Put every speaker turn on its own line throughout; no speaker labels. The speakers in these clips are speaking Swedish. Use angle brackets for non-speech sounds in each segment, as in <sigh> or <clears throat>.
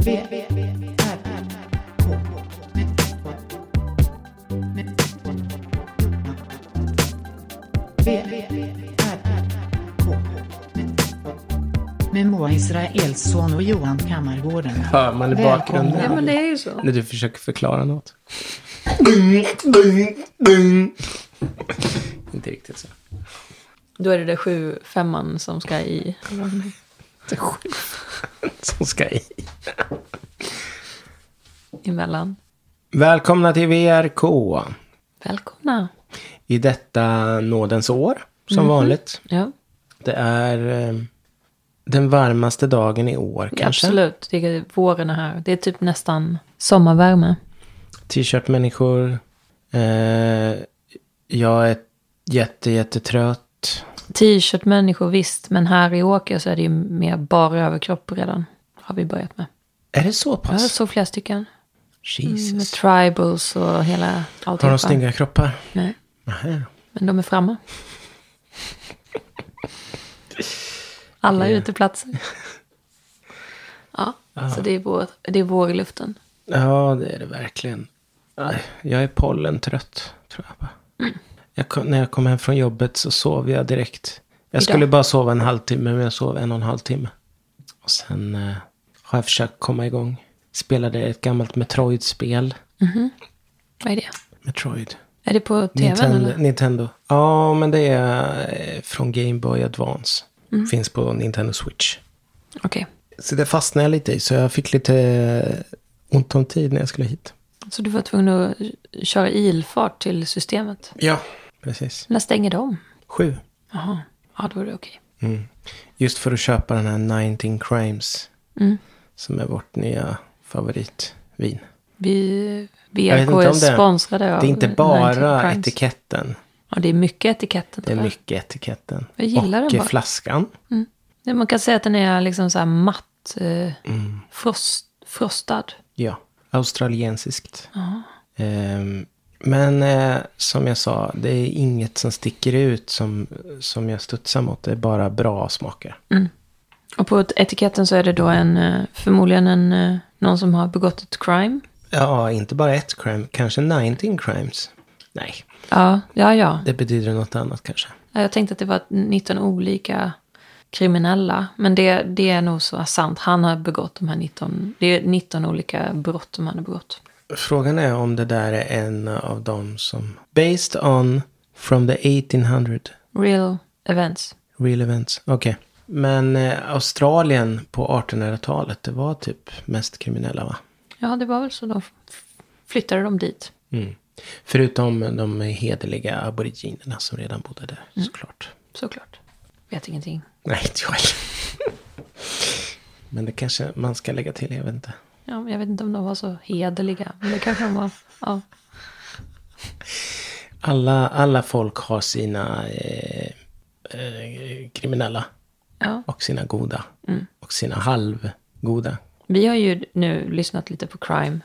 V, R, K. V, R, K. Med Moa Israelsson och Johan Kammargården.
Hör man i
Välkomna.
bakgrunden?
Ja,
Ja, men det är ju så.
När du försöker förklara något. Inte riktigt så.
Då är det det sju femman som ska i.
Det är sjukt. Som ska i.
Emellan.
Välkomna till VRK.
Välkomna.
I detta nådens år, som
Mhm.
vanligt.
Ja,
Det är eh, den varmaste dagen i år kanske.
absolut. Det är våren är här. Det är typ nästan sommarvärme.
T-shirt-människor. Eh, jag är jätte, jättetrött.
T-shirt människor visst, men här i Åker så är det ju mer bara överkropp redan. Har vi börjat med.
Är det så
Jag
pass?
såg flera stycken. Med Mm.
Jesus.
tribals och hela
Har de
alltihopa.
snygga kroppar?
Nej,
Nähä.
men de är framme. Alla <laughs> uteplatser. Ja, så det är, vår, det är vår i luften.
Ja, det är det verkligen. Aj, Jag är pollentrött, tror jag. bara. jag kom, när jag kom hem från jobbet så sov jag direkt. Jag
Idag?
skulle bara sova en halvtimme, men jag sov en och en halv timme. Och sen eh, har jag försökt komma igång. Spelade ett gammalt Metroid-spel.
Vad är det?
Metroid.
Är det på tvn
Nintendo,
eller?
Nintendo. Ja, men det är eh, från Game Boy Advance. Finns på Nintendo Switch.
Okej,
Så det fastnade jag lite i, så jag fick lite ont om tid när jag skulle hit.
så du var tvungen att köra ilfart till systemet.
Ja, precis.
När stänger de?
Sju.
Jaha, ja då är det okej.
Mm. Just för att köpa den här 19 Crimes.
Mm.
Som är vårt nya favoritvin.
Vi,
Jag vet
VK
inte om
är
det-
sponsrade av
det är inte
19
bara
Crimes.
etiketten.
Ja, det är mycket etiketten.
Det är
tror jag.
mycket etiketten.
Jag gillar
och
den bara.
flaskan.
Nej, Man kan säga att den är liksom så här matt, eh,
Mm.
frost, frostad.
Ja, australiensiskt. Ehm, men eh, som jag sa, det är inget som sticker ut som, som jag studsar mot. Det är bara bra smaker.
Mm. Och på etiketten så är det då en, eh, förmodligen en, eh, någon som har begått ett crime.
Ja, inte bara ett crime, kanske 19 crimes. Nej,
Ja, ja, ja.
det betyder något annat kanske.
Ja, Jag tänkte att det var 19 olika kriminella. Men det, det är nog så sant. Han har begått de här 19, det är 19 olika brott som han har begått.
Frågan är om det där är en av dem som... Based on from the 1800
Real events.
real events. Okej. Men eh, Australien på 1800-talet, det var typ mest kriminella va?
Ja, det var väl så de f- flyttade dem dit.
Mm. Förutom de hederliga aboriginerna som redan bodde där såklart.
Såklart. Vet ingenting.
Nej, inte jag heller. <laughs> Men det kanske man ska lägga till, jag vet inte.
Ja, men jag vet inte om de var så hederliga. Men det kanske de var. Ja.
Alla, alla folk har sina eh, eh, kriminella
ja.
och sina goda. Och sina halvgoda.
Vi har ju nu lyssnat lite på crime.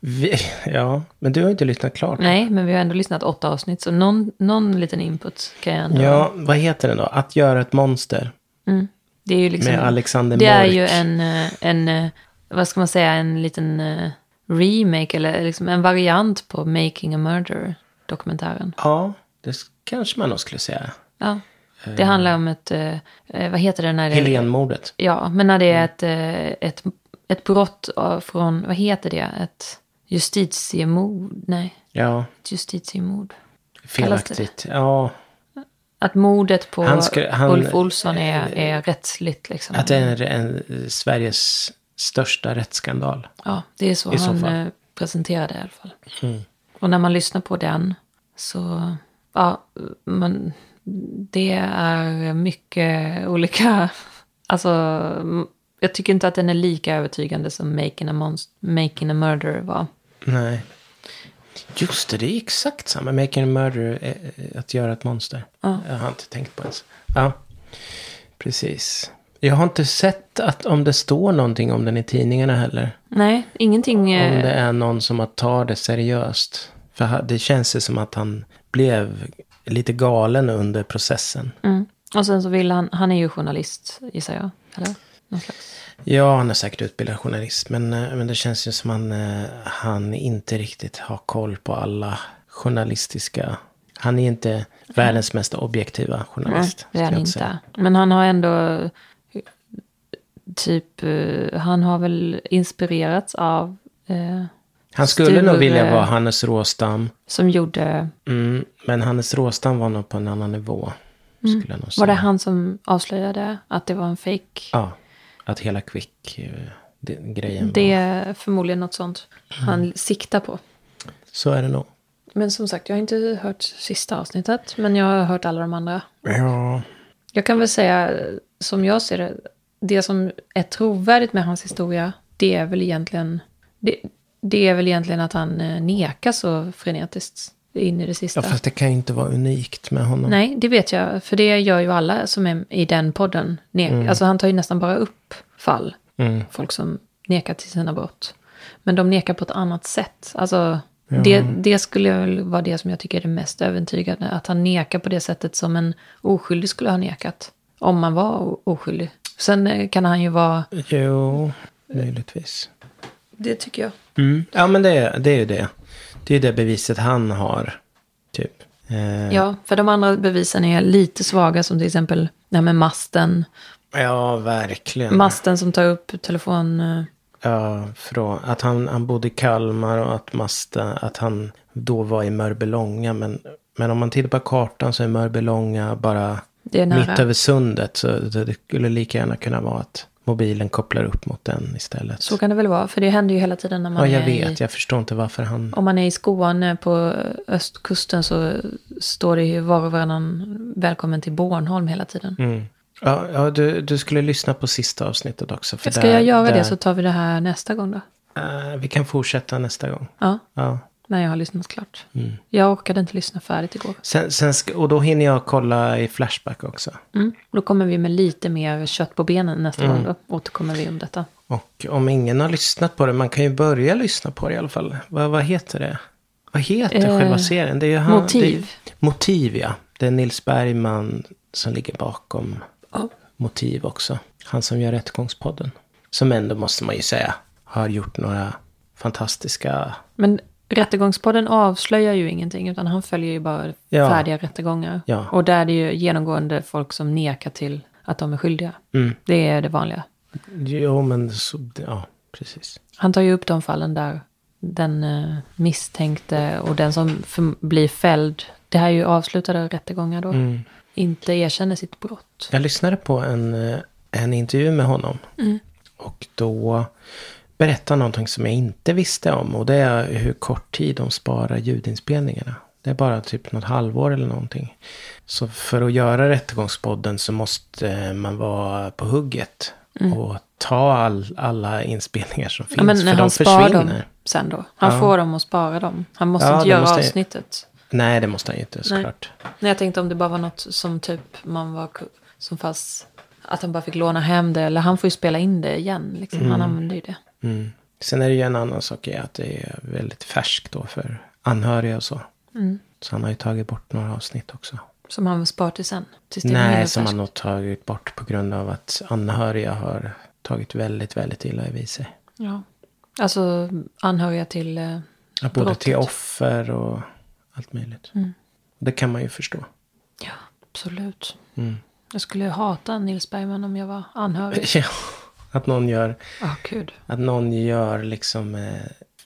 Vi, <laughs> ja, men du har inte lyssnat klart.
Nej, men vi har ändå lyssnat åtta avsnitt. Så någon, någon liten input kan jag ändå...
Ja, vad heter den då? Att göra ett monster.
Mm. Det är ju liksom...
Med Alexander
Det är
Mörk.
ju en, eh, en, eh, vad ska man säga, en liten eh, remake eller liksom en variant på Making a Murder-dokumentären.
Ja, det s- kanske man nog skulle säga.
Ja. Det handlar om ett, eh, eh, vad heter det när det...
Helenmordet.
Ja, men när
Mm.
det är ett, eh, ett, ett brott av- från, vad heter det, ett justitiemord? Nej,
Ja,
ett justitiemord.
felaktigt. Ja,
Att mordet på
Han skulle- han-
Ulf Olsson är, är rättsligt liksom.
att det är en, en, Sveriges största rättsskandal.
Ja, det är så
I så
han
fall. Mm.
eh, presenterade i alla fall. Och när man lyssnar på den så, ja, man, det är mycket <laughs> olika, alltså, m- jag tycker inte att den är lika övertygande som Making a, Monst- Making a Murderer var.
Nej. Just det, det är exakt samma. Making a murder, eh, att göra ett monster. Jag har inte tänkt på ens. Ja, precis. Jag har inte sett att, om det står någonting om den i tidningarna heller.
Nej, ingenting, eh,
Om det är någon som att tar det seriöst. För ha- det känns ju som att han blev lite galen under processen.
mm. och sen så vill han, han är ju journalist gissar jag, eller? Någon slags.
Ja, han är säkert utbildad journalist. Men, eh, men det känns ju som han, eh, han inte riktigt har koll på alla journalistiska... Han är inte världens mest objektiva
Nej,
journalist.
det är
skulle
han
jag
inte.
säga.
Men han har ändå eh, typ, eh, han har väl inspirerats av, eh,
Han skulle nog
Sture-
vilja vara Hannes Råstam.
som gjorde,
Mm, men Hannes Råstam var nog på en annan nivå. Skulle jag nog säga.
Mm. var det han som avslöjade att det var en fake?
Ja, att hela Quick-grejen
Det
var...
är förmodligen något sånt
Mm.
han siktar på.
Så är det nog.
Men som sagt, jag har inte hört sista avsnittet, men jag har hört alla de andra.
Ja,
Jag kan väl säga, som jag ser det, det som är trovärdigt med hans historia, det är väl egentligen, det, det är väl egentligen att han eh, nekar så frenetiskt in i det sista.
ja fast det kan ju inte vara unikt med honom.
Nej, det vet jag, för det gör ju alla som är i den podden. Ne- Alltså han tar ju nästan bara upp fall,
Mm.
folk som nekar till sina brott. Men de nekar på ett annat sätt. Alltså, det, det skulle jag väl vara det som jag tycker är det mest övertygande. Att han nekar på det sättet som en oskyldig skulle ha nekat. Om man var o- oskyldig. Sen eh, kan han ju vara...
Jo, möjligtvis.
Det tycker jag.
Mm. Ja, men det, är- det är ju det. Det är ju det beviset han har, typ. Eh,
Ja, för de andra bevisen är lite svaga. Som till exempel det här med masten.
ja, verkligen.
Masten som tar upp telefon... eh,
ja, från, att han, han bodde i Kalmar och att Masta, att han då var i Mörbylånga. Men, men om man tittar på kartan så är Mörbylånga bara
Det är nära.
mitt över sundet. Så så det skulle lika gärna kunna vara att mobilen kopplar upp mot den istället.
Så kan det väl vara, för det händer ju hela tiden när man
ja, jag
är i...
vet. Jag förstår inte varför han...
Om man är i Skåne på östkusten så står det ju var och varannan välkommen till Bornholm hela tiden.
Mm. Ja, ja du, du skulle lyssna på sista avsnittet också. För
Ska
där-
jag göra
där-
det så tar vi det här nästa gång då.
Eh, vi kan fortsätta nästa gång.
Ja,
Ja.
när jag har lyssnat klart.
Mm.
Jag orkade inte lyssna färdigt igår.
Sen, sen ska, och då hinner jag kolla i Flashback också.
Mm. Då kommer vi med lite mer kött på benen nästa
Mm.
gång då. Återkommer vi om detta.
Och om ingen har lyssnat på det, man kan ju börja lyssna på det i alla fall. Vad, vad heter det? Vad heter
Eh,
själva serien? Det är ju han,
Motiv.
Det, motiv, ja. Det är Nils Bergman som ligger bakom
Ja.
Motiv också. Han som gör Rättegångspodden. Som ändå, måste man ju säga, har gjort några fantastiska...
Men Rättegångspodden avslöjar ju ingenting, utan han följer ju bara
Ja.
färdiga rättegångar.
Ja.
Och där är det ju genomgående folk som nekar till att de är skyldiga.
Mm.
Det är det vanliga.
Jo, men så, ja, precis.
Han tar ju upp de fallen där den eh, misstänkte och den som f- blir fälld, det här är ju avslutade rättegångar då,
Mm.
inte erkänner sitt brott.
Jag lyssnade på en, eh, en intervju med honom.
Mm.
Och då berättade han någonting som jag inte visste om. Och det är hur kort tid de sparar ljudinspelningarna. Det är bara typ något halvår eller någonting. Så för att göra Rättegångspodden så måste eh, man vara på hugget. Och ta all, alla inspelningar som finns.
Ja, Mm.
för
men han
de
sparar
försvinner.
dem sen då. Han får dem och sparar dem. Han måste
Ja,
inte
det
göra
måste-
avsnittet.
Nej, det måste han ju inte såklart.
Nej, jag tänkte om det bara var något som typ man var, ku- som fanns, att han bara fick låna hem det, eller han får ju spela in det igen, liksom. han använder ju det.
Mm. Sen är det ju en annan sak i att det är väldigt färskt då för anhöriga och så. Så han har ju tagit bort några avsnitt också.
Som han sparar till sen. Tills det blir
Nej,
mindre
som
färskt.
han har tagit bort på grund av att anhöriga har tagit väldigt, väldigt illa vid sig.
Ja. Alltså anhöriga till eh,
Ja, Både
brottet.
till offer och allt möjligt. Det kan man ju förstå. <laughs>
Ja, absolut.
Mm.
Jag skulle ju hata Nils Bergman om jag var
<laughs>
anhörig.
Ja, att någon gör,
Ja, gud.
att någon gör liksom, eh,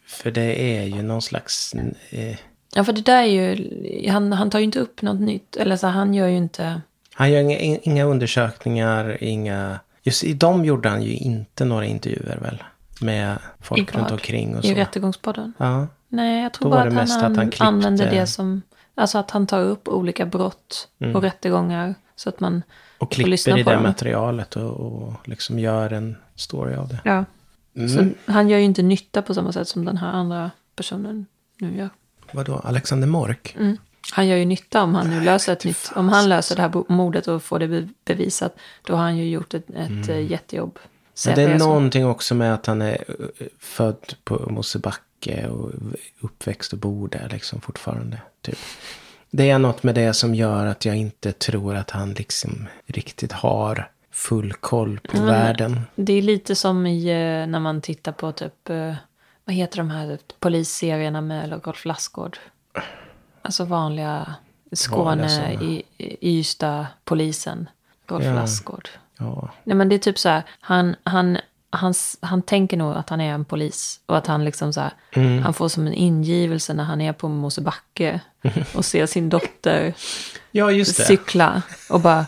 för det är ju någon slags, eh,
Ja, för det där är ju, han, han tar ju inte upp något nytt. Eller så han gör ju inte,
han gör inga, inga undersökningar, inga, just i dem gjorde han ju inte några intervjuer väl? Med folk
I vad?
runt omkring och
i
så.
Rättegångspodden.
Ja.
Nej, jag tror
Då
bara
var det
att
mest
han,
att han
an-
klippte-
använder det som, alltså att han tar upp olika brott
Mm.
och rättegångar. Så att man
Och
får lyssna
klipper i
på
det
dem.
materialet och, och liksom gör en story av det.
Ja. Så han gör ju inte nytta på samma sätt som den här andra personen nu gör.
Vadå, Alexander
Mm.
Mork?
Han gör ju nytta om han nu löser ett nytt. Om han löser det här bo- mordet och får det be- bevisat. Då har han ju gjort ett, ett eh, jättejobb.
Mm. Men
Säpo
det är
är så-
någonting också med att han är eh, född på Mosebacke och uppväxt och bor där liksom fortfarande. Typ. Det är något med det som gör att jag inte tror att han liksom riktigt har full koll på
Mm.
världen.
Det är lite som i, eh, när man tittar på typ, eh, vad heter de här typ, polisserierna med Lagolf Lassgård? Alltså vanliga
Vanliga
Skåne,
sådana.
i, i Ystad, polisen, Golf
Ja.
Lassgård.
Ja,
Nej men det är typ så här, han, han, han, s- han tänker nog att han är en polis. Och att han liksom så här,
Mm.
han får som en ingivelse när han är
<laughs>
på Mosebacke. Och ser sin dotter
ja just det.
cykla. Och bara,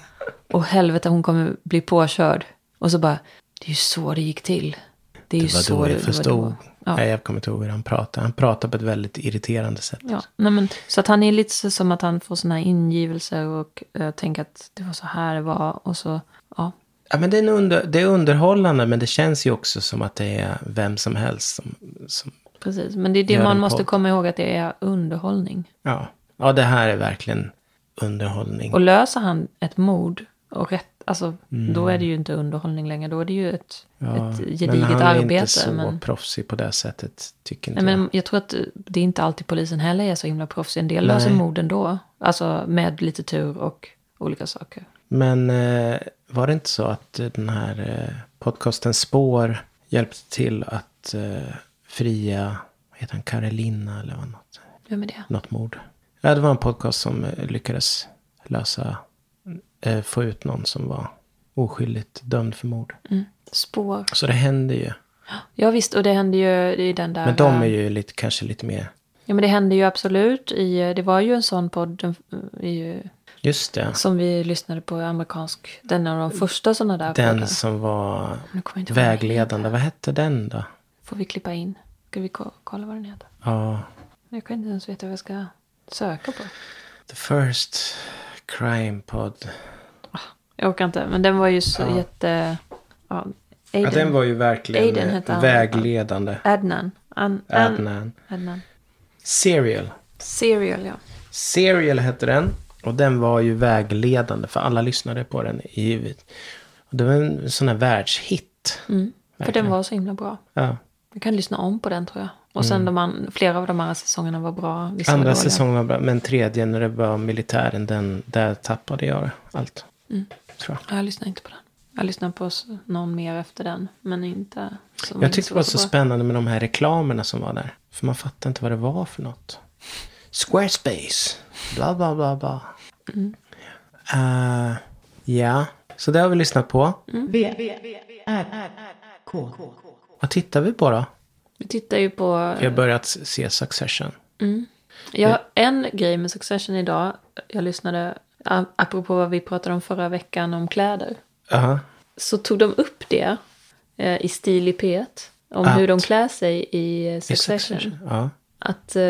åh helvete hon kommer bli påkörd. Och så bara, det är ju så det gick till. Det är ju
Det var
så
då
det-
jag
det var
förstod.
då. Ja.
Nej, jag kommer inte ihåg hur han pratade. Han pratade på ett väldigt irriterande sätt.
Ja, nej men, så att han är lite så som att han får såna här ingivelser och eh, tänker att det var så här det var. Och så, ja.
Ja, men det, är en under, det är underhållande, men det känns ju också som att det är vem som helst som... som
Precis, men det är det
Gör
man
en
måste
podd.
komma ihåg att det är underhållning.
ja. ja, det här är verkligen underhållning.
Och löser han ett mord och rätt, alltså, då är det ju inte underhållning längre. Då är det ju ett,
Mm. ja,
ett
men
gediget
han är inte
arbete.
så
Men,
proffsig på det sättet, tycker inte
nej, men jag tror att det är inte alltid polisen heller är så himla proffsig. En del löser
Nej.
mord ändå. Alltså med lite tur och olika saker.
jag. Men eh, var det inte så att eh, den här eh, podcasten Spår hjälpte till att eh, fria, vad heter han, Karolina eller vad något?
Vem är det?
något mord. Ja, det var en podcast som eh, lyckades lösa, eh, få ut någon som var oskyldigt dömd för mord.
Mm. Spår.
Så det händer ju.
Ja visst, och det hände ju i den där...
Men de är
eh,
ju lite, kanske lite mer,
Ja men det hände ju absolut i... eh, Det var ju en sån podd eh, i,
just det,
som vi lyssnade på i amerikansk. Den av de första såna där
den
poddar.
som var
Nu kommer jag inte ihåg vad den
vägledande. Vad hette den då?
Får vi klippa in? Ska vi ko- kolla vad den heter?
Ja,
Jag kan inte ens veta vad jag ska söka på.
The First Crime Pod.
Jag orkar inte, men den var ju så
Ja.
jätte... Ja,
Ja,
Aiden.
den var ju
Aiden
verkligen
hette
eh,
han.
vägledande.
Adnan. An, an, Adnan.
Adnan. Serial.
Serial, ja.
Serial hette den. Och den var ju vägledande för alla lyssnade på den i huvudet. Och det var en sån här världshit.
Mm. För
Verkligen.
den var så himla bra.
Ja.
Vi kan lyssna om på den tror jag. Och sen de an, flera av de andra säsongerna var bra. vissa var
Mm. Andra
dåliga.
säsongen var bra, men tredje när det var militären, den, där tappade jag allt. Tror jag.
Mm. Ja, Jag lyssnar inte på den. Jag lyssnar på s- någon mer efter den. Men inte... som
jag tyckte
så
det var så
bra.
spännande med de här reklamerna som var där. För man fattade inte vad det var för något. Squarespace, bla bla bla bla.
Mm.
Eh, ja, så det har vi lyssnat på.
Mm.
V R K.
Vad tittar vi på då?
Vi tittar ju på...
Vi har börjat se Succession.
Jag, en grej med Succession idag, jag lyssnade, a- apropå vad vi pratade om förra veckan om kläder,
Aha.
så tog de upp det eh, i Stil i P1, om
Att-
hur de klär sig i eh,
I
Succession.
Ja.
Att, eh,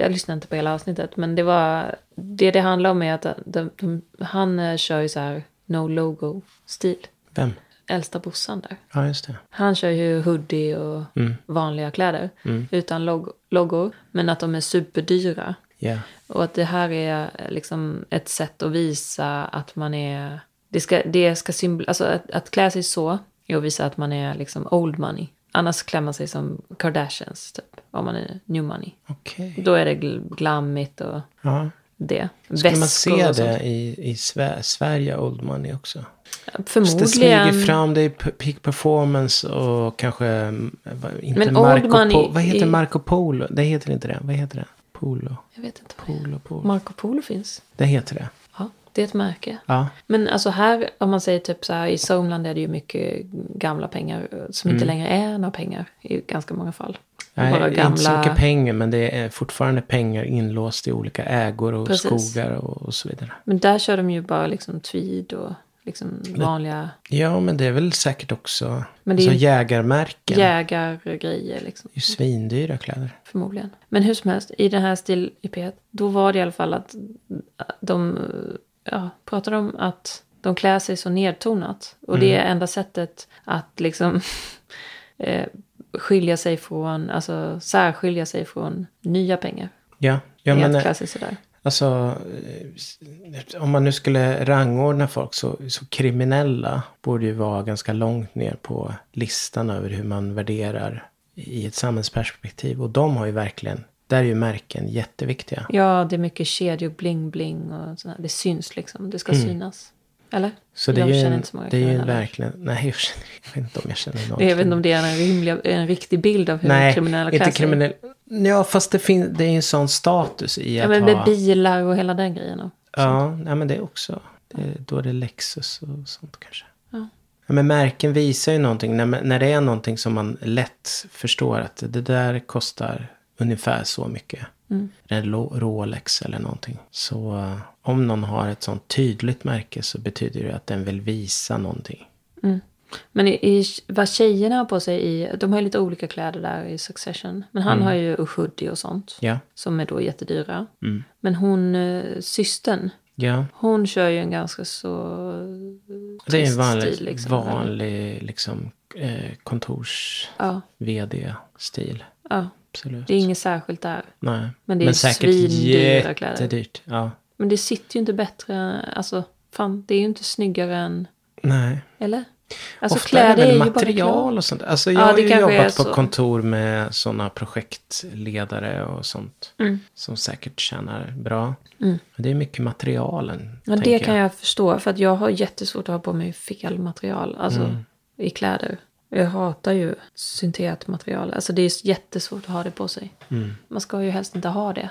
jag lyssnade inte på hela avsnittet, men det var, det det handlar om är att de, de, han eh, kör ju så här no logo-stil,
Vem?
äldsta brorsan där.
Ja, just det.
Han kör ju hoodie och vanliga kläder utan log- loggor, men att de är superdyra.
Ja.
Och att det här är liksom ett sätt att visa att man är... Det ska, det ska symbol, alltså att, att klä sig så är att visa att man är liksom old money. Annars klär man sig som Kardashians, typ. Om man är new money.
Okej.
Då är det gl- glammigt och
Ja.
det.
Skulle man se
och sånt.
det i, i Sve- Sverige, Old Money också? Så det
Förmodligen.
smyger fram, det är p- peak performance och kanske... mm, vad- Inte
Men Old
Marco
Money
Po- Vad heter
i-
Marco Polo? Det heter inte det. Vad heter det? Polo.
Jag vet inte vad det
Polo,
är.
Polo.
Marco Polo finns.
Det heter det.
Ja, det är ett märke.
Ja.
Men alltså här, om man säger typ så här, i Sörmland är det ju mycket gamla pengar eh, som inte längre är några pengar i ganska många fall.
Mm. Nej, inte så mycket pengar, men det är fortfarande pengar inlåst i olika ägor och
Precis.
skogar och, och så vidare.
Men där kör de ju bara liksom tweed och liksom vanliga
Ja, men det är väl säkert också...
Men det är
alltså,
ju-
jägarmärken.
jägargrejer liksom.
Det är ju svindyra kläder.
Förmodligen. Men hur som helst, i den här stil i P1, då var det i alla fall att de ja, pratade om att de klär sig så nedtonat. Och det
Mm.
är enda sättet att liksom <laughs> eh, skilja sig från, alltså särskilja sig från nya pengar.
Ja, ja
är
men
att
eh,
klä sig sådär.
alltså, eh, s- om man nu skulle rangordna folk så, så kriminella borde ju vara ganska långt ner på listan över hur man värderar i ett samhällsperspektiv. Och de har ju verkligen, där är ju märken jätteviktiga.
Ja, det är mycket kedjor, bling-bling och sådär. Det syns liksom, det ska synas. Eller?
Mm. Så det är ju
jag känner
en,
inte så många
det är ju en
kriminella.
verkligen... Nej, jag, känner, jag vet inte om jag känner någon.
Jag vet inte om det är en, rimlig, en riktig bild av hur
Nej,
kriminella klär
inte
sig.
kriminell. Ja, fast det, fin- det är ju en sån status i
Ja,
att
men
ha...
med bilar och hela den grejen. och-
Ja, nej, men det också. Det, då är det Lexus och sånt kanske.
Ja.
Ja, men märken visar ju någonting. När, när det är någonting som man lätt förstår att det där kostar ungefär så mycket.
Mm.
En Lo- Rolex eller någonting. Så eh, om någon har ett sånt tydligt märke så betyder det att den vill visa någonting.
Men i, i, vad tjejerna har på sig i... De har ju lite olika kläder där i Succession. Men han har ju hoodie och sånt.
Mm. Ja, Mm.
Som är då jättedyra. Men hon, eh, systern,
ja.
hon kör ju en ganska så...
Det är en
trist
vanlig,
stil, liksom.
vanlig liksom, eh, kontors-vd-stil.
Ja, ja.
Absolut.
Det är inget särskilt där.
Nej.
Men det är svindyra kläder.
jättedyrt. Ja.
Men det sitter ju inte bättre... Alltså, fan, det är ju inte snyggare än...
Nej.
Eller? Alltså
Ofta är det väl material
kläder.
och sånt. Alltså
Ja,
jag har
det
ju
kanske
jobbat
är
på
så.
kontor med sådana projektledare och sånt.
Mm.
Som säkert tjänar bra. Det är mycket materialen.
Ja, det
tänker
kan jag förstå. För att jag har jättesvårt att ha på mig fel material. Alltså
Mm.
i kläder. Jag hatar ju syntetmaterial. Alltså det är jättesvårt att ha det på sig.
Mm.
Man ska ju helst inte ha det.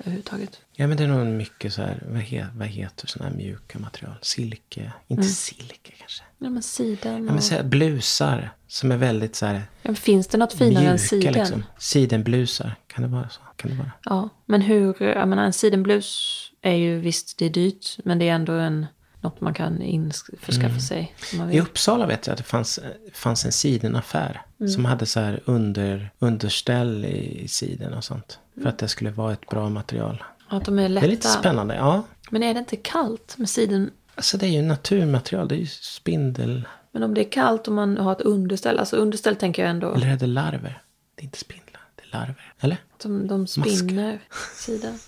Överhuvudtaget.
Ja, men det är nog mycket så här. Vad, he, vad heter sådana här mjuka material? Silke. Inte silke kanske.
Mm. Ja men siden
Ja, men
och...
så här, blusar. Som är väldigt så här
Ja, finns det något finare
mjuka.
än siden?
Liksom. Sidenblusar. Kan det vara så? Kan det vara?
Ja, men hur, jag menar en sidenblus är ju visst det är dyrt, men det är ändå en, något man kan ins- förskaffa
Mm.
sig. Om man vill.
I Uppsala vet jag att det fanns, fanns en sidenaffär. Som hade så här under, underställ i, i siden och sånt. För att det skulle vara ett bra material.
Att de är
Det
lätta.
är lite spännande. Ja.
Men är det inte kallt med siden?
Alltså det är ju naturmaterial. Det är ju spindel.
Men om det är kallt och man har ett underställ, alltså underställ tänker jag ändå
Eller är det larver? Det är inte spindlar. Det är larver. Eller?
att de, de spinner
<laughs>
siden.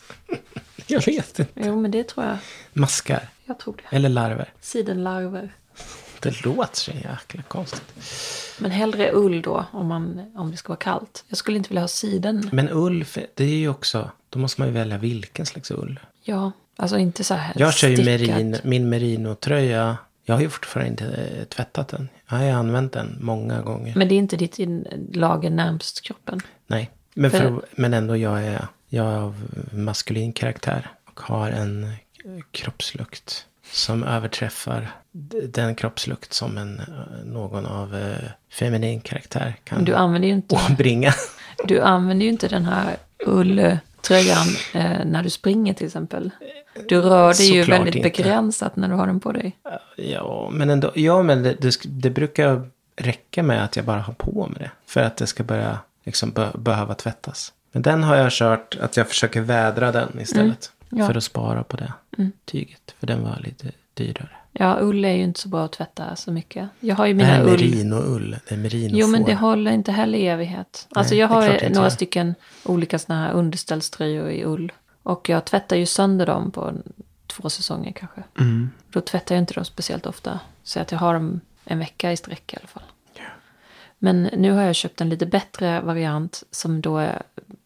Jag vet inte.
Jo, men det tror jag.
Maskar.
Jag tror det.
Eller larver.
Sidenlarver.
Det låter så jäkla konstigt.
Men hellre ull då, om, man, om det ska vara kallt. Jag skulle inte vilja ha siden.
Men ull, för- det är ju också... Då måste man ju välja vilken slags ull.
Ja, alltså inte så här
Jag kör ju
stickat.
merin, min merinotröja. Jag har ju fortfarande inte eh, tvättat den. Jag har ju använt den många gånger.
Men det är inte ditt in- lager närmst kroppen.
Nej, men, för,
För-
men ändå jag är, jag är av maskulin karaktär. Och har en eh, kroppslukt som överträffar d- den kroppslukt som en, eh, någon av eh, feminin karaktär kan
Men du använder ju inte...
<laughs> åbringa.
Du använder ju inte den här ulltröjan eh, när du springer till exempel. Du rör dig ju
Såklart
väldigt
inte.
begränsat när du har den på dig.
Ja, men ändå. Ja, men det, det, sk- det brukar räcka med att jag bara har på mig det. För att det ska börja liksom, be, behöva tvättas. Men den har jag kört att jag försöker vädra den istället.
Mm, ja. Mm.
För att spara på det tyget. För den var lite dyrare.
Ja, ull är ju inte så bra att tvätta så mycket. Jag har ju
Det här
mina
är
ull...
merinoull. Det är merinofår.
Jo, men det håller inte heller i evighet. Alltså
Nej,
jag
det är
har
klart det
ju
inte
några
gör.
stycken olika sådana här underställströjor i ull. Och jag tvättar ju sönder dem på en- två säsonger kanske.
Mm.
Då tvättar jag inte dem speciellt ofta. Så att jag har dem en vecka i sträck i alla fall. Men nu har jag köpt en lite bättre variant som då är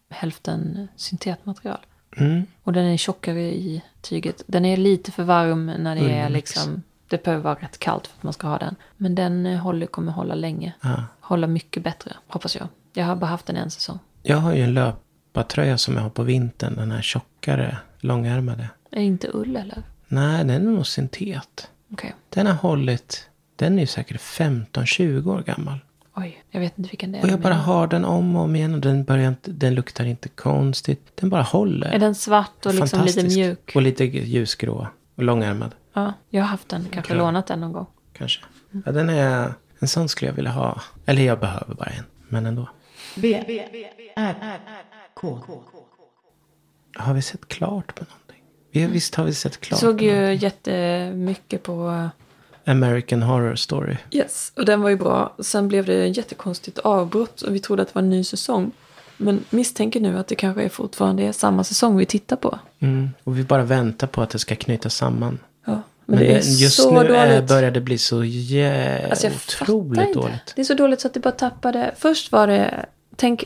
hälften syntetmaterial.
Mm.
Och den är tjockare i tyget. Den är lite för varm när det är
Ullmix.
liksom... Det behöver vara rätt kallt för att man ska ha den. Men den eh, håller, kommer hålla länge.
Ja.
Hålla mycket bättre, hoppas jag. Jag har bara haft den en säsong.
Jag har ju en löpartröja som jag har på vintern. Den här tjockare, långärmade.
Är det inte ull eller?
Nej, den är nog syntet.
Okej.
Den har hållit. Den är ju säkert 15-20 år gammal.
Oj, jag vet inte vilken det är.
Och jag
du
bara
menar.
har den om och om igen och den, börjar inte, den luktar inte konstigt. Den bara håller.
Är den svart och liksom lite
Fantastisk.
mjuk?
Och lite ljusgrå. Och långärmad
Ja, jag har haft den. Kanske
Okej.
lånat den någon gång.
kanske.
Mm.
Ja, den är... En sån skulle jag vilja ha. Eller jag behöver bara en. Men ändå.
B R K.
Har vi sett klart på någonting? Vi, Visst har vi sett
Jag
klart?
såg
på något?
ju jättemycket på... eh,
American Horror Story.
Yes, och den var ju bra. Sen blev det ett jättekonstigt avbrott och vi trodde att det var en ny säsong. Men misstänker nu att det kanske är fortfarande är samma säsong vi tittar på.
Mm. Och vi bara väntar på att det ska knyta samman.
Ja, men,
Men,
det är
det- just
så
nu är-
dåligt.
börjar det bli så jä...
Alltså jag fattar
otroligt
inte.
dåligt.
Det är så dåligt så att det bara tappade. Först var det, tänk,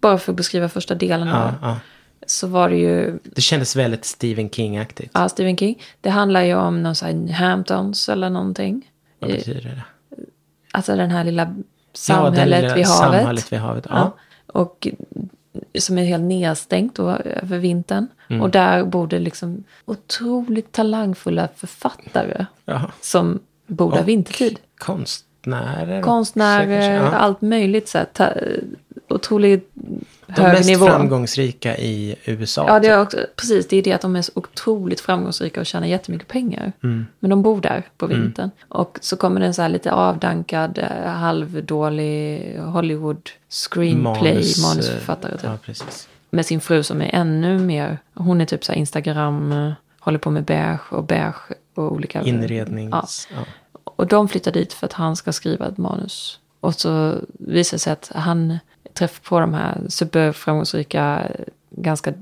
bara för att beskriva första delen
Ja,
här.
ja.
så var det ju
Det kändes väldigt Stephen King-aktigt.
ja, Stephen King. Det handlar ju om någon sån här Hamptons eller någonting.
Vad
I-
betyder det?
Alltså den här lilla
Ja, det
samhället
lilla
vid havet.
Samhället vid havet, ja.
Ja. Och som är helt nedstängt då, över vintern.
Mm.
Och där bor det liksom otroligt talangfulla författare
Jaha.
som bor där vintertid.
Konstnärer. och
Konstnärer,
säkert- ja.
allt möjligt. Så här, ta, otroligt
De
hög
mest
nivå.
framgångsrika i USA.
Ja, det
typ.
är också, precis. Det är det att de är så otroligt framgångsrika och tjänar jättemycket pengar.
Mm.
Men de bor där på vintern. Och så kommer det en så här lite avdankad, eh, halvdålig Hollywood screenplay,
Manus, eh,
manusförfattare. Typ.
Ja, precis.
Med sin fru som är ännu mer, hon är typ så här Instagram, eh, håller på med beige och beige och olika.
Inrednings... Ja.
Och de flyttar dit för att han ska skriva ett manus. Och så visar det sig att han träffar på de här superframgångsrika, ganska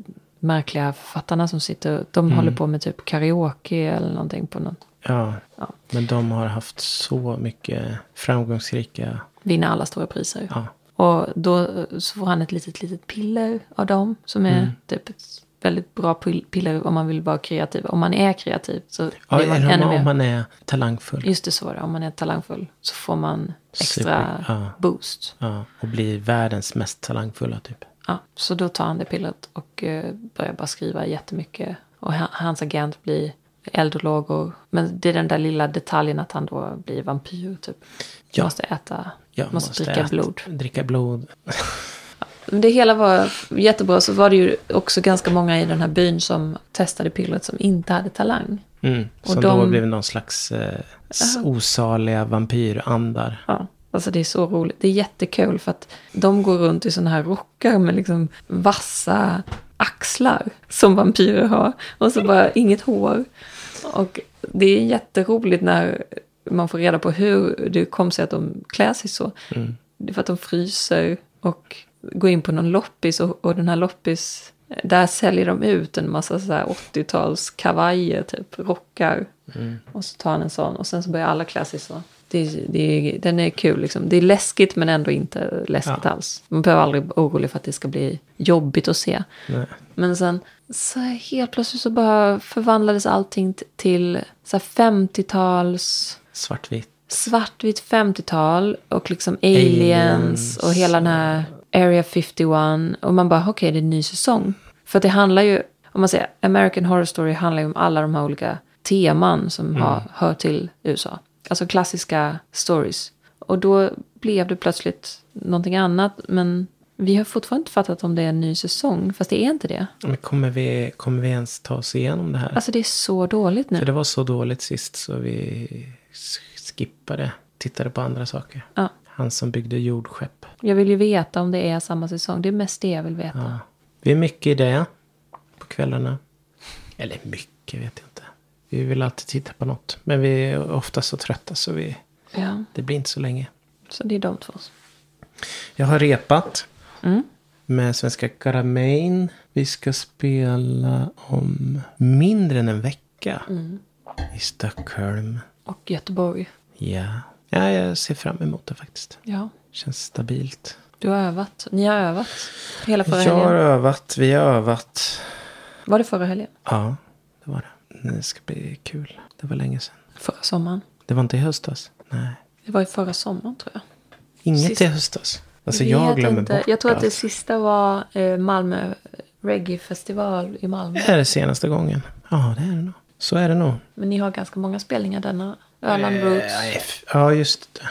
märkliga författarna som sitter. De håller på med typ karaoke eller någonting på något.
Ja.
Ja.
Men de har haft så mycket framgångsrika...
Vinner alla stora priser.
Ja.
Och då eh, så får han ett litet, litet piller av dem. Som är
Mm.
typ ett väldigt bra pill- piller om man vill vara kreativ. Om man är kreativ så
Ja,
blir man
eller
ännu
om,
mer.
om man är talangfull.
Just det, så var det. Om man är talangfull så får man extra
Super, ja.
boost.
Ja. Och blir världens mest talangfulla typ.
Ja, så då tar han det pillret och eh, börjar bara skriva jättemycket. Och ha- hans agent blir eldolog och... Men det är den där lilla detaljen att han då blir vampyr typ.
Ja.
Måste äta,
Jag
måste, dricka
äta-
blod.
Dricka blod.
Men Det hela var jättebra. Så var det ju också ganska många i den här byn som testade pillret som inte hade talang.
Mm.
Och
Som då
de-
blev någon slags eh, s- osaliga vampyrandar.
Ja, alltså det är så roligt. Det är jättekul för att de går runt i sådana här rockar med liksom vassa axlar som vampyrer har. Och så bara inget hår. Och det är jätteroligt när man får reda på hur det kom sig att de klär sig så. Det är för att de fryser och går in på någon loppis och, och den här loppis, där säljer de ut en massa så här 80-tals kavajer, typ rockar. Och så tar han en sån och sen så börjar alla klä sig så. Det, det, den är kul liksom. Det är läskigt men ändå inte läskigt alls. Man behöver aldrig vara orolig för att det ska bli jobbigt att se.
Nej.
Men sen så här helt plötsligt så bara förvandlades allting t- till så här 50-tals
Svartvitt.
svartvitt 50-tal och liksom aliens,
Aliens.
och hela den här Area 51. Och man bara, okej, det är en ny säsong. För att det handlar ju, om man säger American Horror Story handlar ju om alla de här olika teman som
Mm.
har, hör till USA. Alltså klassiska stories. Och då blev det plötsligt någonting annat. Men vi har fortfarande inte fattat om det är en ny säsong. Fast det är inte det.
Men kommer vi, kommer vi ens ta oss igenom det här?
Alltså det är så dåligt nu.
För det var så dåligt sist så vi s- skippade. Tittade på andra saker.
Ja.
Han som byggde jordskepp.
Jag vill ju veta om det är samma säsong. Det är mest det jag vill veta.
Ja. Vi är mycket i det. På kvällarna. Eller mycket vet jag inte. Vi vill alltid titta på något. Men vi är ofta så trötta så vi,
ja.
det blir inte så länge.
Så det är de två. Mm.
Jag har repat. Med Svenska Karamein. Vi ska spela om mindre än en vecka.
Mm.
I Stockholm.
Och Göteborg.
Ja. ja, jag ser fram emot det faktiskt.
Ja,
Känns stabilt.
du har övat. Ni har övat. Hela förra
Jag har
helgen.
övat, vi har övat.
Var det förra helgen?
Ja, det var det. Det ska bli kul. Det var länge sedan.
Förra sommaren.
Det var inte i höstas. Nej.
Det var ju förra sommaren tror jag.
Inget
Sist-
i höstas. Alltså jag,
vet
glömmer bort
Jag tror att det
allt.
sista var eh, Malmö Reggae-festival i Malmö.
Det är det senaste gången. Ja, det är det nog. Så är det nog.
Men ni har ganska många spelningar denna. Öland
Eh,
Roots.
f- Ja, just det.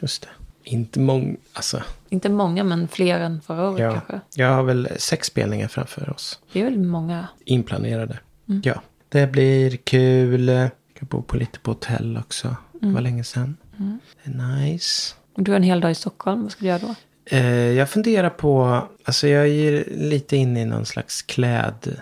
Just det. Inte många. Alltså,
Inte många, men fler än förra året
ja.
kanske.
Jag har väl sex spelningar framför oss.
Det är väl många.
Inplanerade. Ja. Det blir kul. Jag ska bo på lite på hotell också. Det var länge sedan. Det är nice.
Du har en hel dag i Stockholm. Vad ska du göra då?
Eh, jag funderar på, alltså jag är lite inne i någon slags klädperiod.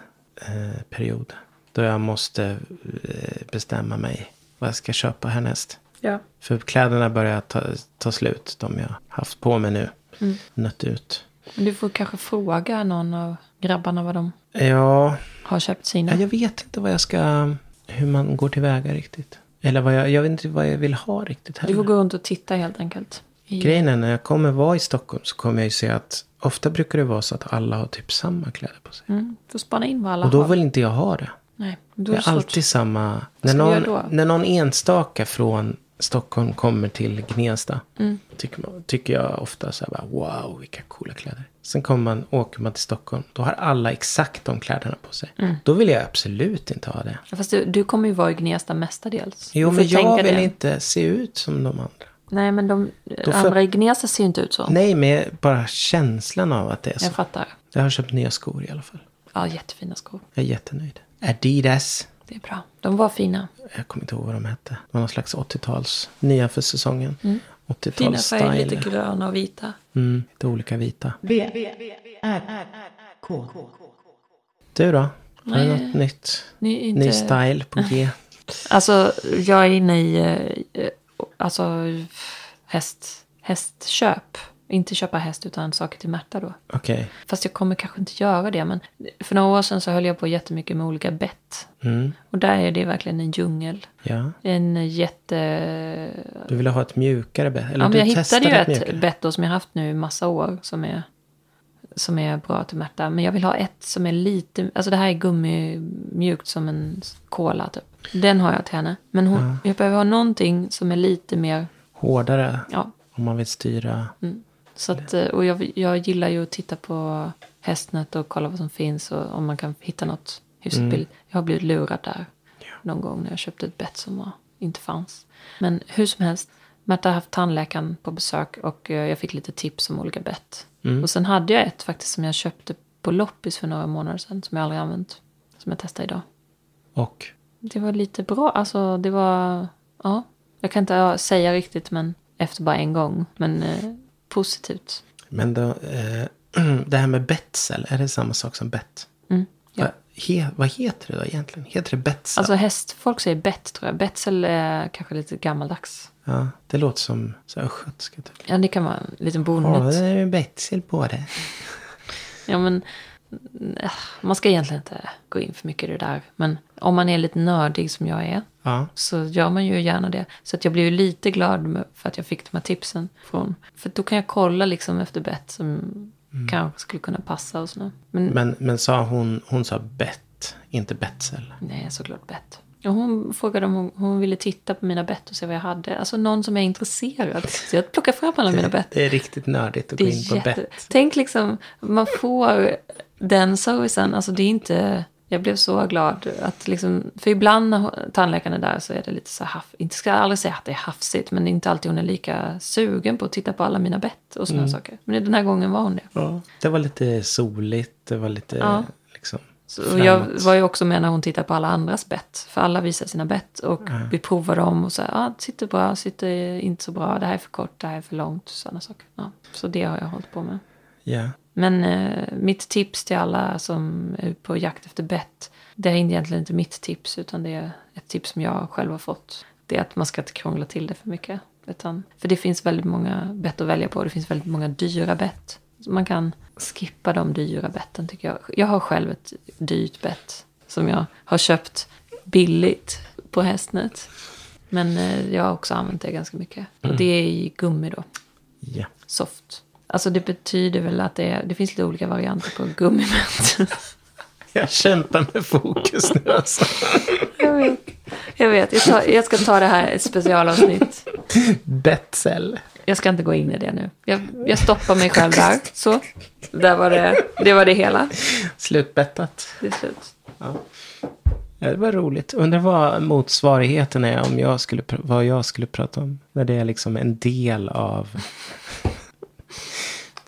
Eh, period. då jag måste eh, bestämma mig vad jag ska köpa härnäst.
Ja.
För kläderna börjar ta, ta slut, de jag haft på mig nu. Nött ut.
Men du får kanske fråga någon av grabbarna vad de
Ja,
har köpt sina.
ja, jag vet inte vad jag ska, hur man går tillväga riktigt. Eller vad jag, jag vet inte vad jag vill ha riktigt
Du
heller.
får gå runt och titta helt enkelt. I-
Grejen är när jag kommer vara i Stockholm så kommer jag ju se att ofta brukar det vara så att alla har typ samma kläder på sig.
Mm. Får spana in vad alla
Och då
har.
vill inte jag ha det.
Nej,
Det
då är det
är
svårt.
alltid samma. När
ska vi
någon,
göra då?
när någon enstaka från Stockholm kommer till Gnesta.
Mm.
Tycker, man, tycker jag ofta så här bara, wow vilka coola kläder. Sen kommer man, åker man till Stockholm. Då har alla exakt de kläderna på sig.
Mm.
Då vill jag absolut inte ha det.
Fast du, du kommer ju vara i Gnesta mestadels.
Jo
Du får
men jag
tänka
vill
det.
inte se ut som de andra.
Nej, men de
får-
andra i Gnesta ser ju inte ut så.
Nej men bara känslan av att det är så.
Jag fattar.
Jag har köpt nya skor i alla fall.
Ja, jättefina skor.
Jag är jättenöjd. Adidas.
Det är bra. De var fina.
Jag kommer inte ihåg vad de hette. Det var någon slags 80-tals. Nya för säsongen.
Mm. Fina
80-tals
färger,
style.
lite gröna och vita.
Mm, lite olika vita.
B R K.
Du då? Har du något nytt?
Ni är inte... Ah.
Ny style på G?
Alltså, jag är inne i eh, eh, alltså, häst, hästköp. Inte köpa häst utan saker till Märta då.
Okej.
Fast jag kommer kanske inte göra det. Men för några år sedan så höll jag på jättemycket med olika bett.
Mm,
Och där är det verkligen en djungel.
ja.
En jätte...
Du ville ha ett mjukare bett? Eller
Ja, men
du
jag hittade
testade
ju
ett
ett
mjukare?
bett då som jag haft nu i massa år. Som är, som är bra till Märta. Men jag vill ha ett som är lite... Alltså det här är gummimjukt som en kola typ. Den har jag till henne. Men hon, jag behöver ha någonting som är lite mer...
Hårdare?
Ja, Mm.
Om man vill styra?
så att, eh, och jag, jag gillar ju att titta på Hästnet och kolla vad som finns och om man kan hitta något hyfsat billigt. Jag har blivit lurad där någon gång när jag köpte ett bett som var, inte fanns. Men hur som helst, Märta har haft tandläkaren på besök och eh, jag fick lite tips om olika bett. Och sen hade jag ett faktiskt som jag köpte på loppis för några månader sedan som jag aldrig använt. Som jag testade idag.
Och?
Det var lite bra. Alltså, det var... Ja. Jag kan inte ja, säga riktigt, men efter bara en gång. Men eh, positivt.
Men då, eh, <clears throat> det här med betsel, är det samma sak som bett?
Mm, ja.
Va, he, vad heter det då egentligen? Heter det betsel?
Alltså häst, folk säger bett tror jag. Betsel är kanske lite gammaldags.
ja, det låter som så här östgötska. Typ.
Ja, det kan vara en liten
Ja, det
bonnet.
är ju betsel på det.
Ja, men eh, man ska egentligen inte gå in för mycket i det där. Men om man är lite nördig som jag är
Ja.
så gör man ju gärna det. Så att jag blev ju lite glad med- för att jag fick de här tipsen från. För då kan jag kolla liksom efter bett som kanske skulle kunna passa och sådär. Men
Men, men sa hon, hon sa bett, inte betsel.
Nej, såklart bett. Ja, hon frågade om hon, hon ville titta på mina bett och se vad jag hade. Alltså någon som är intresserad. Så jag plockade fram alla mina bett.
Det är riktigt nördigt att
Det
gå in på
är jätte...
bett.
Tänk liksom, man får den servicen. Alltså det är inte... Jag blev så glad att liksom, för ibland när hon- tandläkaren är där så är det lite så här, haff, inte ska jag aldrig säga att det är hafsigt, men inte alltid hon är lika sugen på att titta på alla mina bett och
Mm.
sådana saker. Men den här gången var hon det.
Ja, det var lite soligt, det var lite
Ja.
liksom
Så jag
framåt.
var ju också med när hon tittade på alla andras bett. För alla visade sina bett och vi provade dem och sa ah, sitter bra, sitter inte så bra, det här är för kort, det här är för långt, sådana saker. Ja, så det har jag hållit på med.
Ja.
Men eh, mitt tips till alla som är på jakt efter bett, det är egentligen inte mitt tips utan det är ett tips som jag själv har fått. Det är att man ska inte krångla till det för mycket. Utan, för det finns väldigt många bett att välja på och det finns väldigt många dyra bett. Så Man kan skippa de dyra betten tycker jag. Jag har själv ett dyrt bett som jag har köpt billigt på Hästnet. Men eh, jag har också använt det ganska mycket. Och det är i gummi då
ja.
soft. Alltså det betyder väl att det, är, det finns lite olika varianter på gummiband.
Jag kämpar med fokus nu alltså.
<laughs> jag vet. Jag, vet. Jag, tar, jag ska ta det här i ett specialavsnitt.
Betsel.
Jag ska inte gå in i det nu. Jag, jag stoppar mig själv där. Så. Där var det, det var det hela.
Slutbettat.
Det är slut.
Ja, det var roligt. Undrar vad motsvarigheten är om jag skulle, pr- vad jag skulle prata om. När det är liksom en del av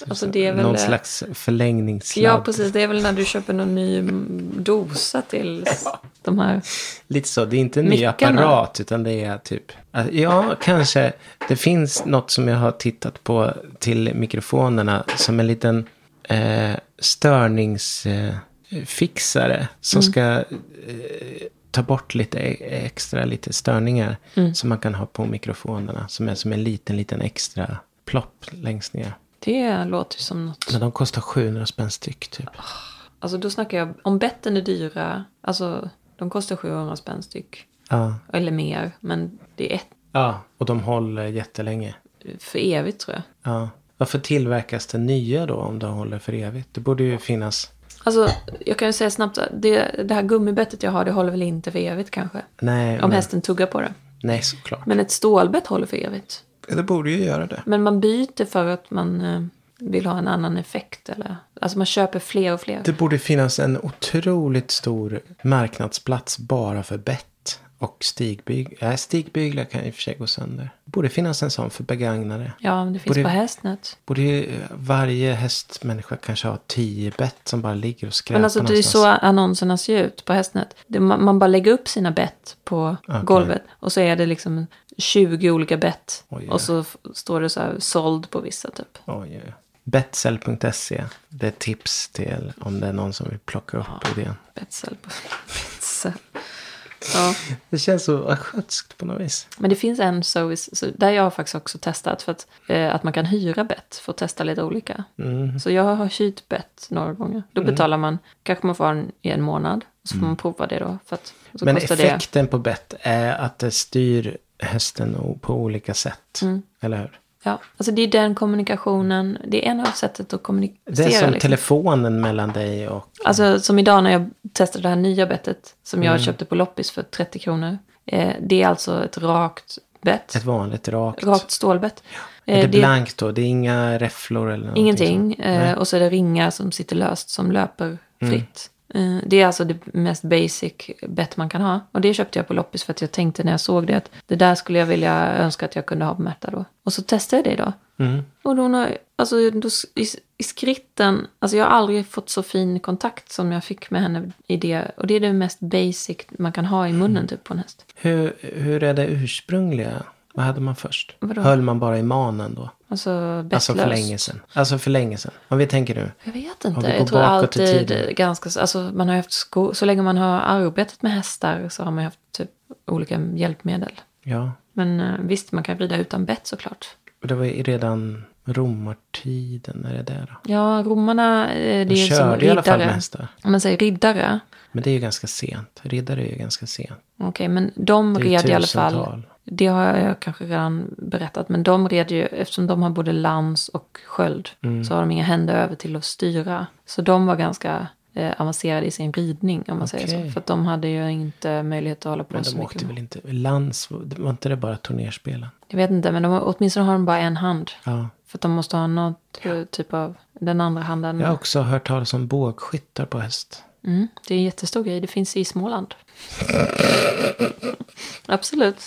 Alltså det är väl...
någon slags förlängningssladd.
Ja, precis. Det är väl när du köper någon ny mm, dosa till s- de här.
Lite så, det är inte en ny
Mickarna.
apparat utan det är typ, att- ja kanske, det finns något som jag har tittat på till mikrofonerna som en liten eh, störningsfixare eh, fixare som ska eh, ta bort lite e- extra, lite störningar som man kan ha på mikrofonerna som är som en liten, liten extra plopp längst ner.
Det låter ju som något.
Men de kostar 700 spänn styck typ.
Alltså då snackar jag om betten är dyra. Alltså de kostar 700 spänn styck.
Ja.
Eller mer. Men det är ett
ja, och de håller jättelänge.
för evigt tror jag.
Ja. Varför tillverkas det nya då om det håller för evigt? Det borde ju finnas...
Alltså, jag kan ju säga snabbt, det, det här gummibettet jag har, det håller väl inte för evigt kanske?
Nej,
Om
men-
hästen tuggar på det.
nej såklart.
Men ett stålbett håller för evigt.
Ja, det borde ju göra det.
Men man byter för att man eh, vill ha en annan effekt. Eller, alltså man köper fler och fler.
Det borde finnas en otroligt stor marknadsplats bara för bett och stigbyg. Nej, stigbyglar kan i och för sig gå sönder. Det borde finnas en sån för begagnade.
Ja, men det finns
Borde-
på hästnät.
Borde ju eh, varje hästmänniska kanske ha tio bett som bara ligger och skräpar
Men alltså det är ju
någonstans.
så annonserna ser ut på hästnät. Det, man, man bara lägger upp sina bett på
Okej.
golvet. Och så är det liksom 20 olika bett.
Oj, ja.
och så f- står det så här såld på vissa typ.
Oj, oj. Betsel.se. E. Det är tips till om det är någon som vill plocka upp idén.
Betsel. på- <laughs> Betsel. Ja.
Det känns så östgötskt på något vis.
Men det finns en service, så där jag har faktiskt också testat, för att, eh, att man kan hyra bett för att testa lite olika.
Mm.
Så jag har hyrt bett några gånger. Då betalar man, kanske man får ha den i en månad, och så får man prova det då. För att, och så
Mm. Men
kostar
effekten på bett är att det styr hästen o- på olika sätt.
Mm.
Eller hur?
det... Ja, alltså det är den kommunikationen, det är en av sättet att kommunicera.
Det är som
liksom.
telefonen mellan dig och...
Alltså som idag när jag testade det här nya bettet, som
Mm.
jag köpte på loppis för 30 kronor. Eh, det är alltså ett rakt bett,
Ett vanligt rakt.
rakt stålbett.
Är
Eh,
det blankt då? Det är inga räfflor eller någonting
Ingenting.
sånt? Mm.
Eh, och så är det ringar som sitter löst som löper fritt. Eh, det är alltså det mest basic bett man kan ha. Och det köpte jag på loppis för att jag tänkte när jag såg det att det där skulle jag vilja önska att jag kunde ha på Märta då. Och så testade jag det idag.
Mm.
Och då, hon har- alltså, då, s- i, i skritten, alltså jag har aldrig fått så fin kontakt som jag fick med henne i det. Och det är det mest basic man kan ha i
Mm.
munnen typ på en häst.
Hur, hur är det ursprungliga? Vad hade man först?
Vadå?
Höll man bara i manen då?
Alltså bettlöst.
Alltså för länge sedan. Alltså för länge sedan. Om vi tänker nu.
Jag vet inte.
vi går
Jag tror
bakåt i
alltid
tiden.
ganska... så- Alltså man har ju haft sko- Så länge man har arbetat med hästar så har man ju haft typ olika hjälpmedel.
Ja.
Men eh, visst, man kan rida utan bett såklart.
Och Det var ju redan romartiden. När det där då?
Ja, romarna, eh, det är ju som
körde
riddare.
i alla fall med hästar.
Om man säger riddare.
Men det är ju ganska sent. Riddare är ju ganska sent.
Okej, men de
Det är ju
red i alla fall.
tusental.
Det har jag kanske redan berättat. Men de red ju, eftersom de har både lans och sköld.
Mm.
Så har de inga händer över till att styra. Så de var ganska eh, avancerade i sin ridning om man säger så.
Okej.
För att de hade ju inte möjlighet att hålla på
Men
så
de
mycket.
åkte väl inte... Lands... Var inte det bara turnerspelen?
Jag vet inte, men de, har- åtminstone har de bara en hand.
Ja.
För att de måste ha något eh, typ av, den andra handen.
Jag har också hört talas om bågskyttar på häst.
Mm, det är en jättestor grej, det finns i Småland. Absolut.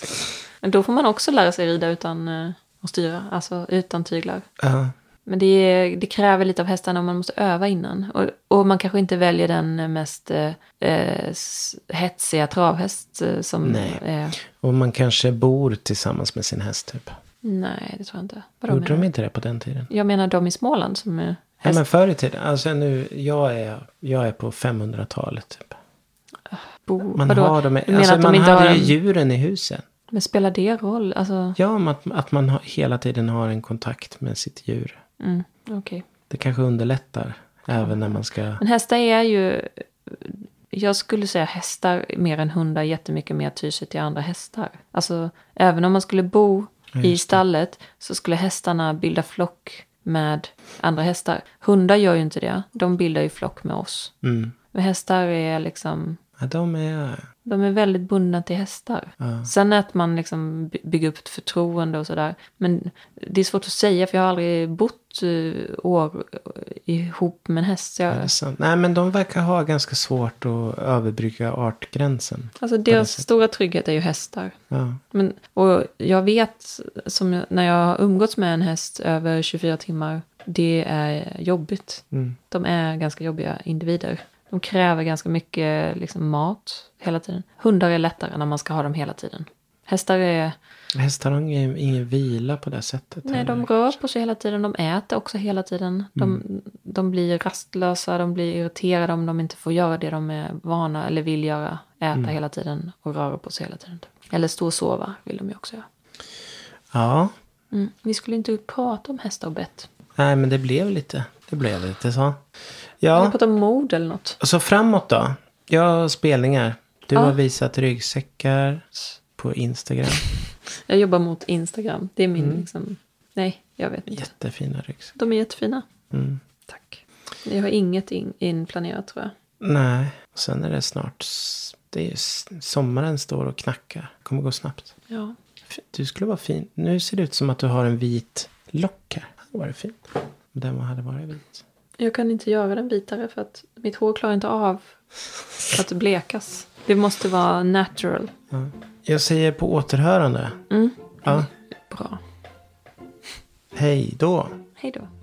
Men då får man också lära sig rida utan eh, att styra, alltså utan tyglar.
Ja.
Men det, är- det kräver lite av hästarna och man måste öva innan. Och, och man kanske inte väljer den mest eh, eh, s- hetsiga travhäst eh, som...
Nej.
Eh,
Och man kanske bor tillsammans med sin häst typ.
nej, det tror jag inte. Vadå
Gjorde
menar
de
du?
inte det på den tiden?
Jag menar de i Småland som är
Ja,
häst...
men förr i tiden. Alltså nu, jag är, jag är på 500-talet typ.
Bo,
Man
vadå?
har dem, i-
Du menar
alltså,
att de
man
inte
hade
har
ju
en-
djuren i husen.
Men spelar det roll? Alltså,
Ja, men att, att man har, hela tiden har en kontakt med sitt djur.
mm, okej.
Det kanske underlättar. Även när man ska...
Men hästar är ju... Jag skulle säga hästar mer än hundar jättemycket mer tyr sig till andra hästar. Alltså, även om man skulle bo i stallet så skulle hästarna bilda flock med andra hästar. Hundar gör ju inte det. De bildar ju flock med oss.
Mm.
Men hästar är liksom...
Ja, de är...
De är väldigt bundna till hästar. Sen att man liksom by- bygger upp ett förtroende och sådär. Men det är svårt att säga för jag har aldrig bott eh, år ihop med en häst. Så jag,
är det sant? Nej, men de verkar ha ganska svårt att överbrygga artgränsen.
Alltså deras stora trygghet är ju hästar.
Ja.
Men, och jag vet, som jag, när jag har umgåtts med en häst över 24 timmar, det är jobbigt. De är ganska jobbiga individer. De kräver ganska mycket liksom, mat hela tiden. Hundar är lättare när man ska ha dem hela tiden. Hästar är...
Hästar har ingen, ingen vila på det sättet.
Nej, de
heller.
rör på sig hela tiden. De äter också hela tiden. De,
Mm.
de blir rastlösa, de blir irriterade om de inte får göra det de är vana eller vill göra. Äta
Mm.
hela tiden och röra på sig hela tiden. typ. Eller stå och sova vill de ju också göra.
Ja.
Mm. Vi skulle inte prata om hästar och bett.
Nej, men det blev lite. Det blev lite så.
Vi
Ja,
prata om mord eller något.
och så framåt då. Jag har spelningar. Du
Ja.
har visat ryggsäckar på Instagram. Mm.
Jag jobbar mot Instagram. Det är min liksom... Nej, Jag vet inte.
Jättefina ryggsäckar.
De är jättefina.
Mm.
Tack. Jag har inget in- inplanerat tror jag.
Nej, och sen är det snart... s- Det är ju, s- sommaren står och knackar. kommer gå snabbt.
Ja.
F- Du skulle vara fin. Nu ser det ut som att du har en vit lock här. Det hade varit fint. Om Den hade varit vit.
Jag kan inte göra den vitare för att mitt hår klarar inte av att blekas. Det måste vara natural.
Ja. Jag säger på återhörande.
Mm.
Ja.
Bra.
Hej då.
Hej då.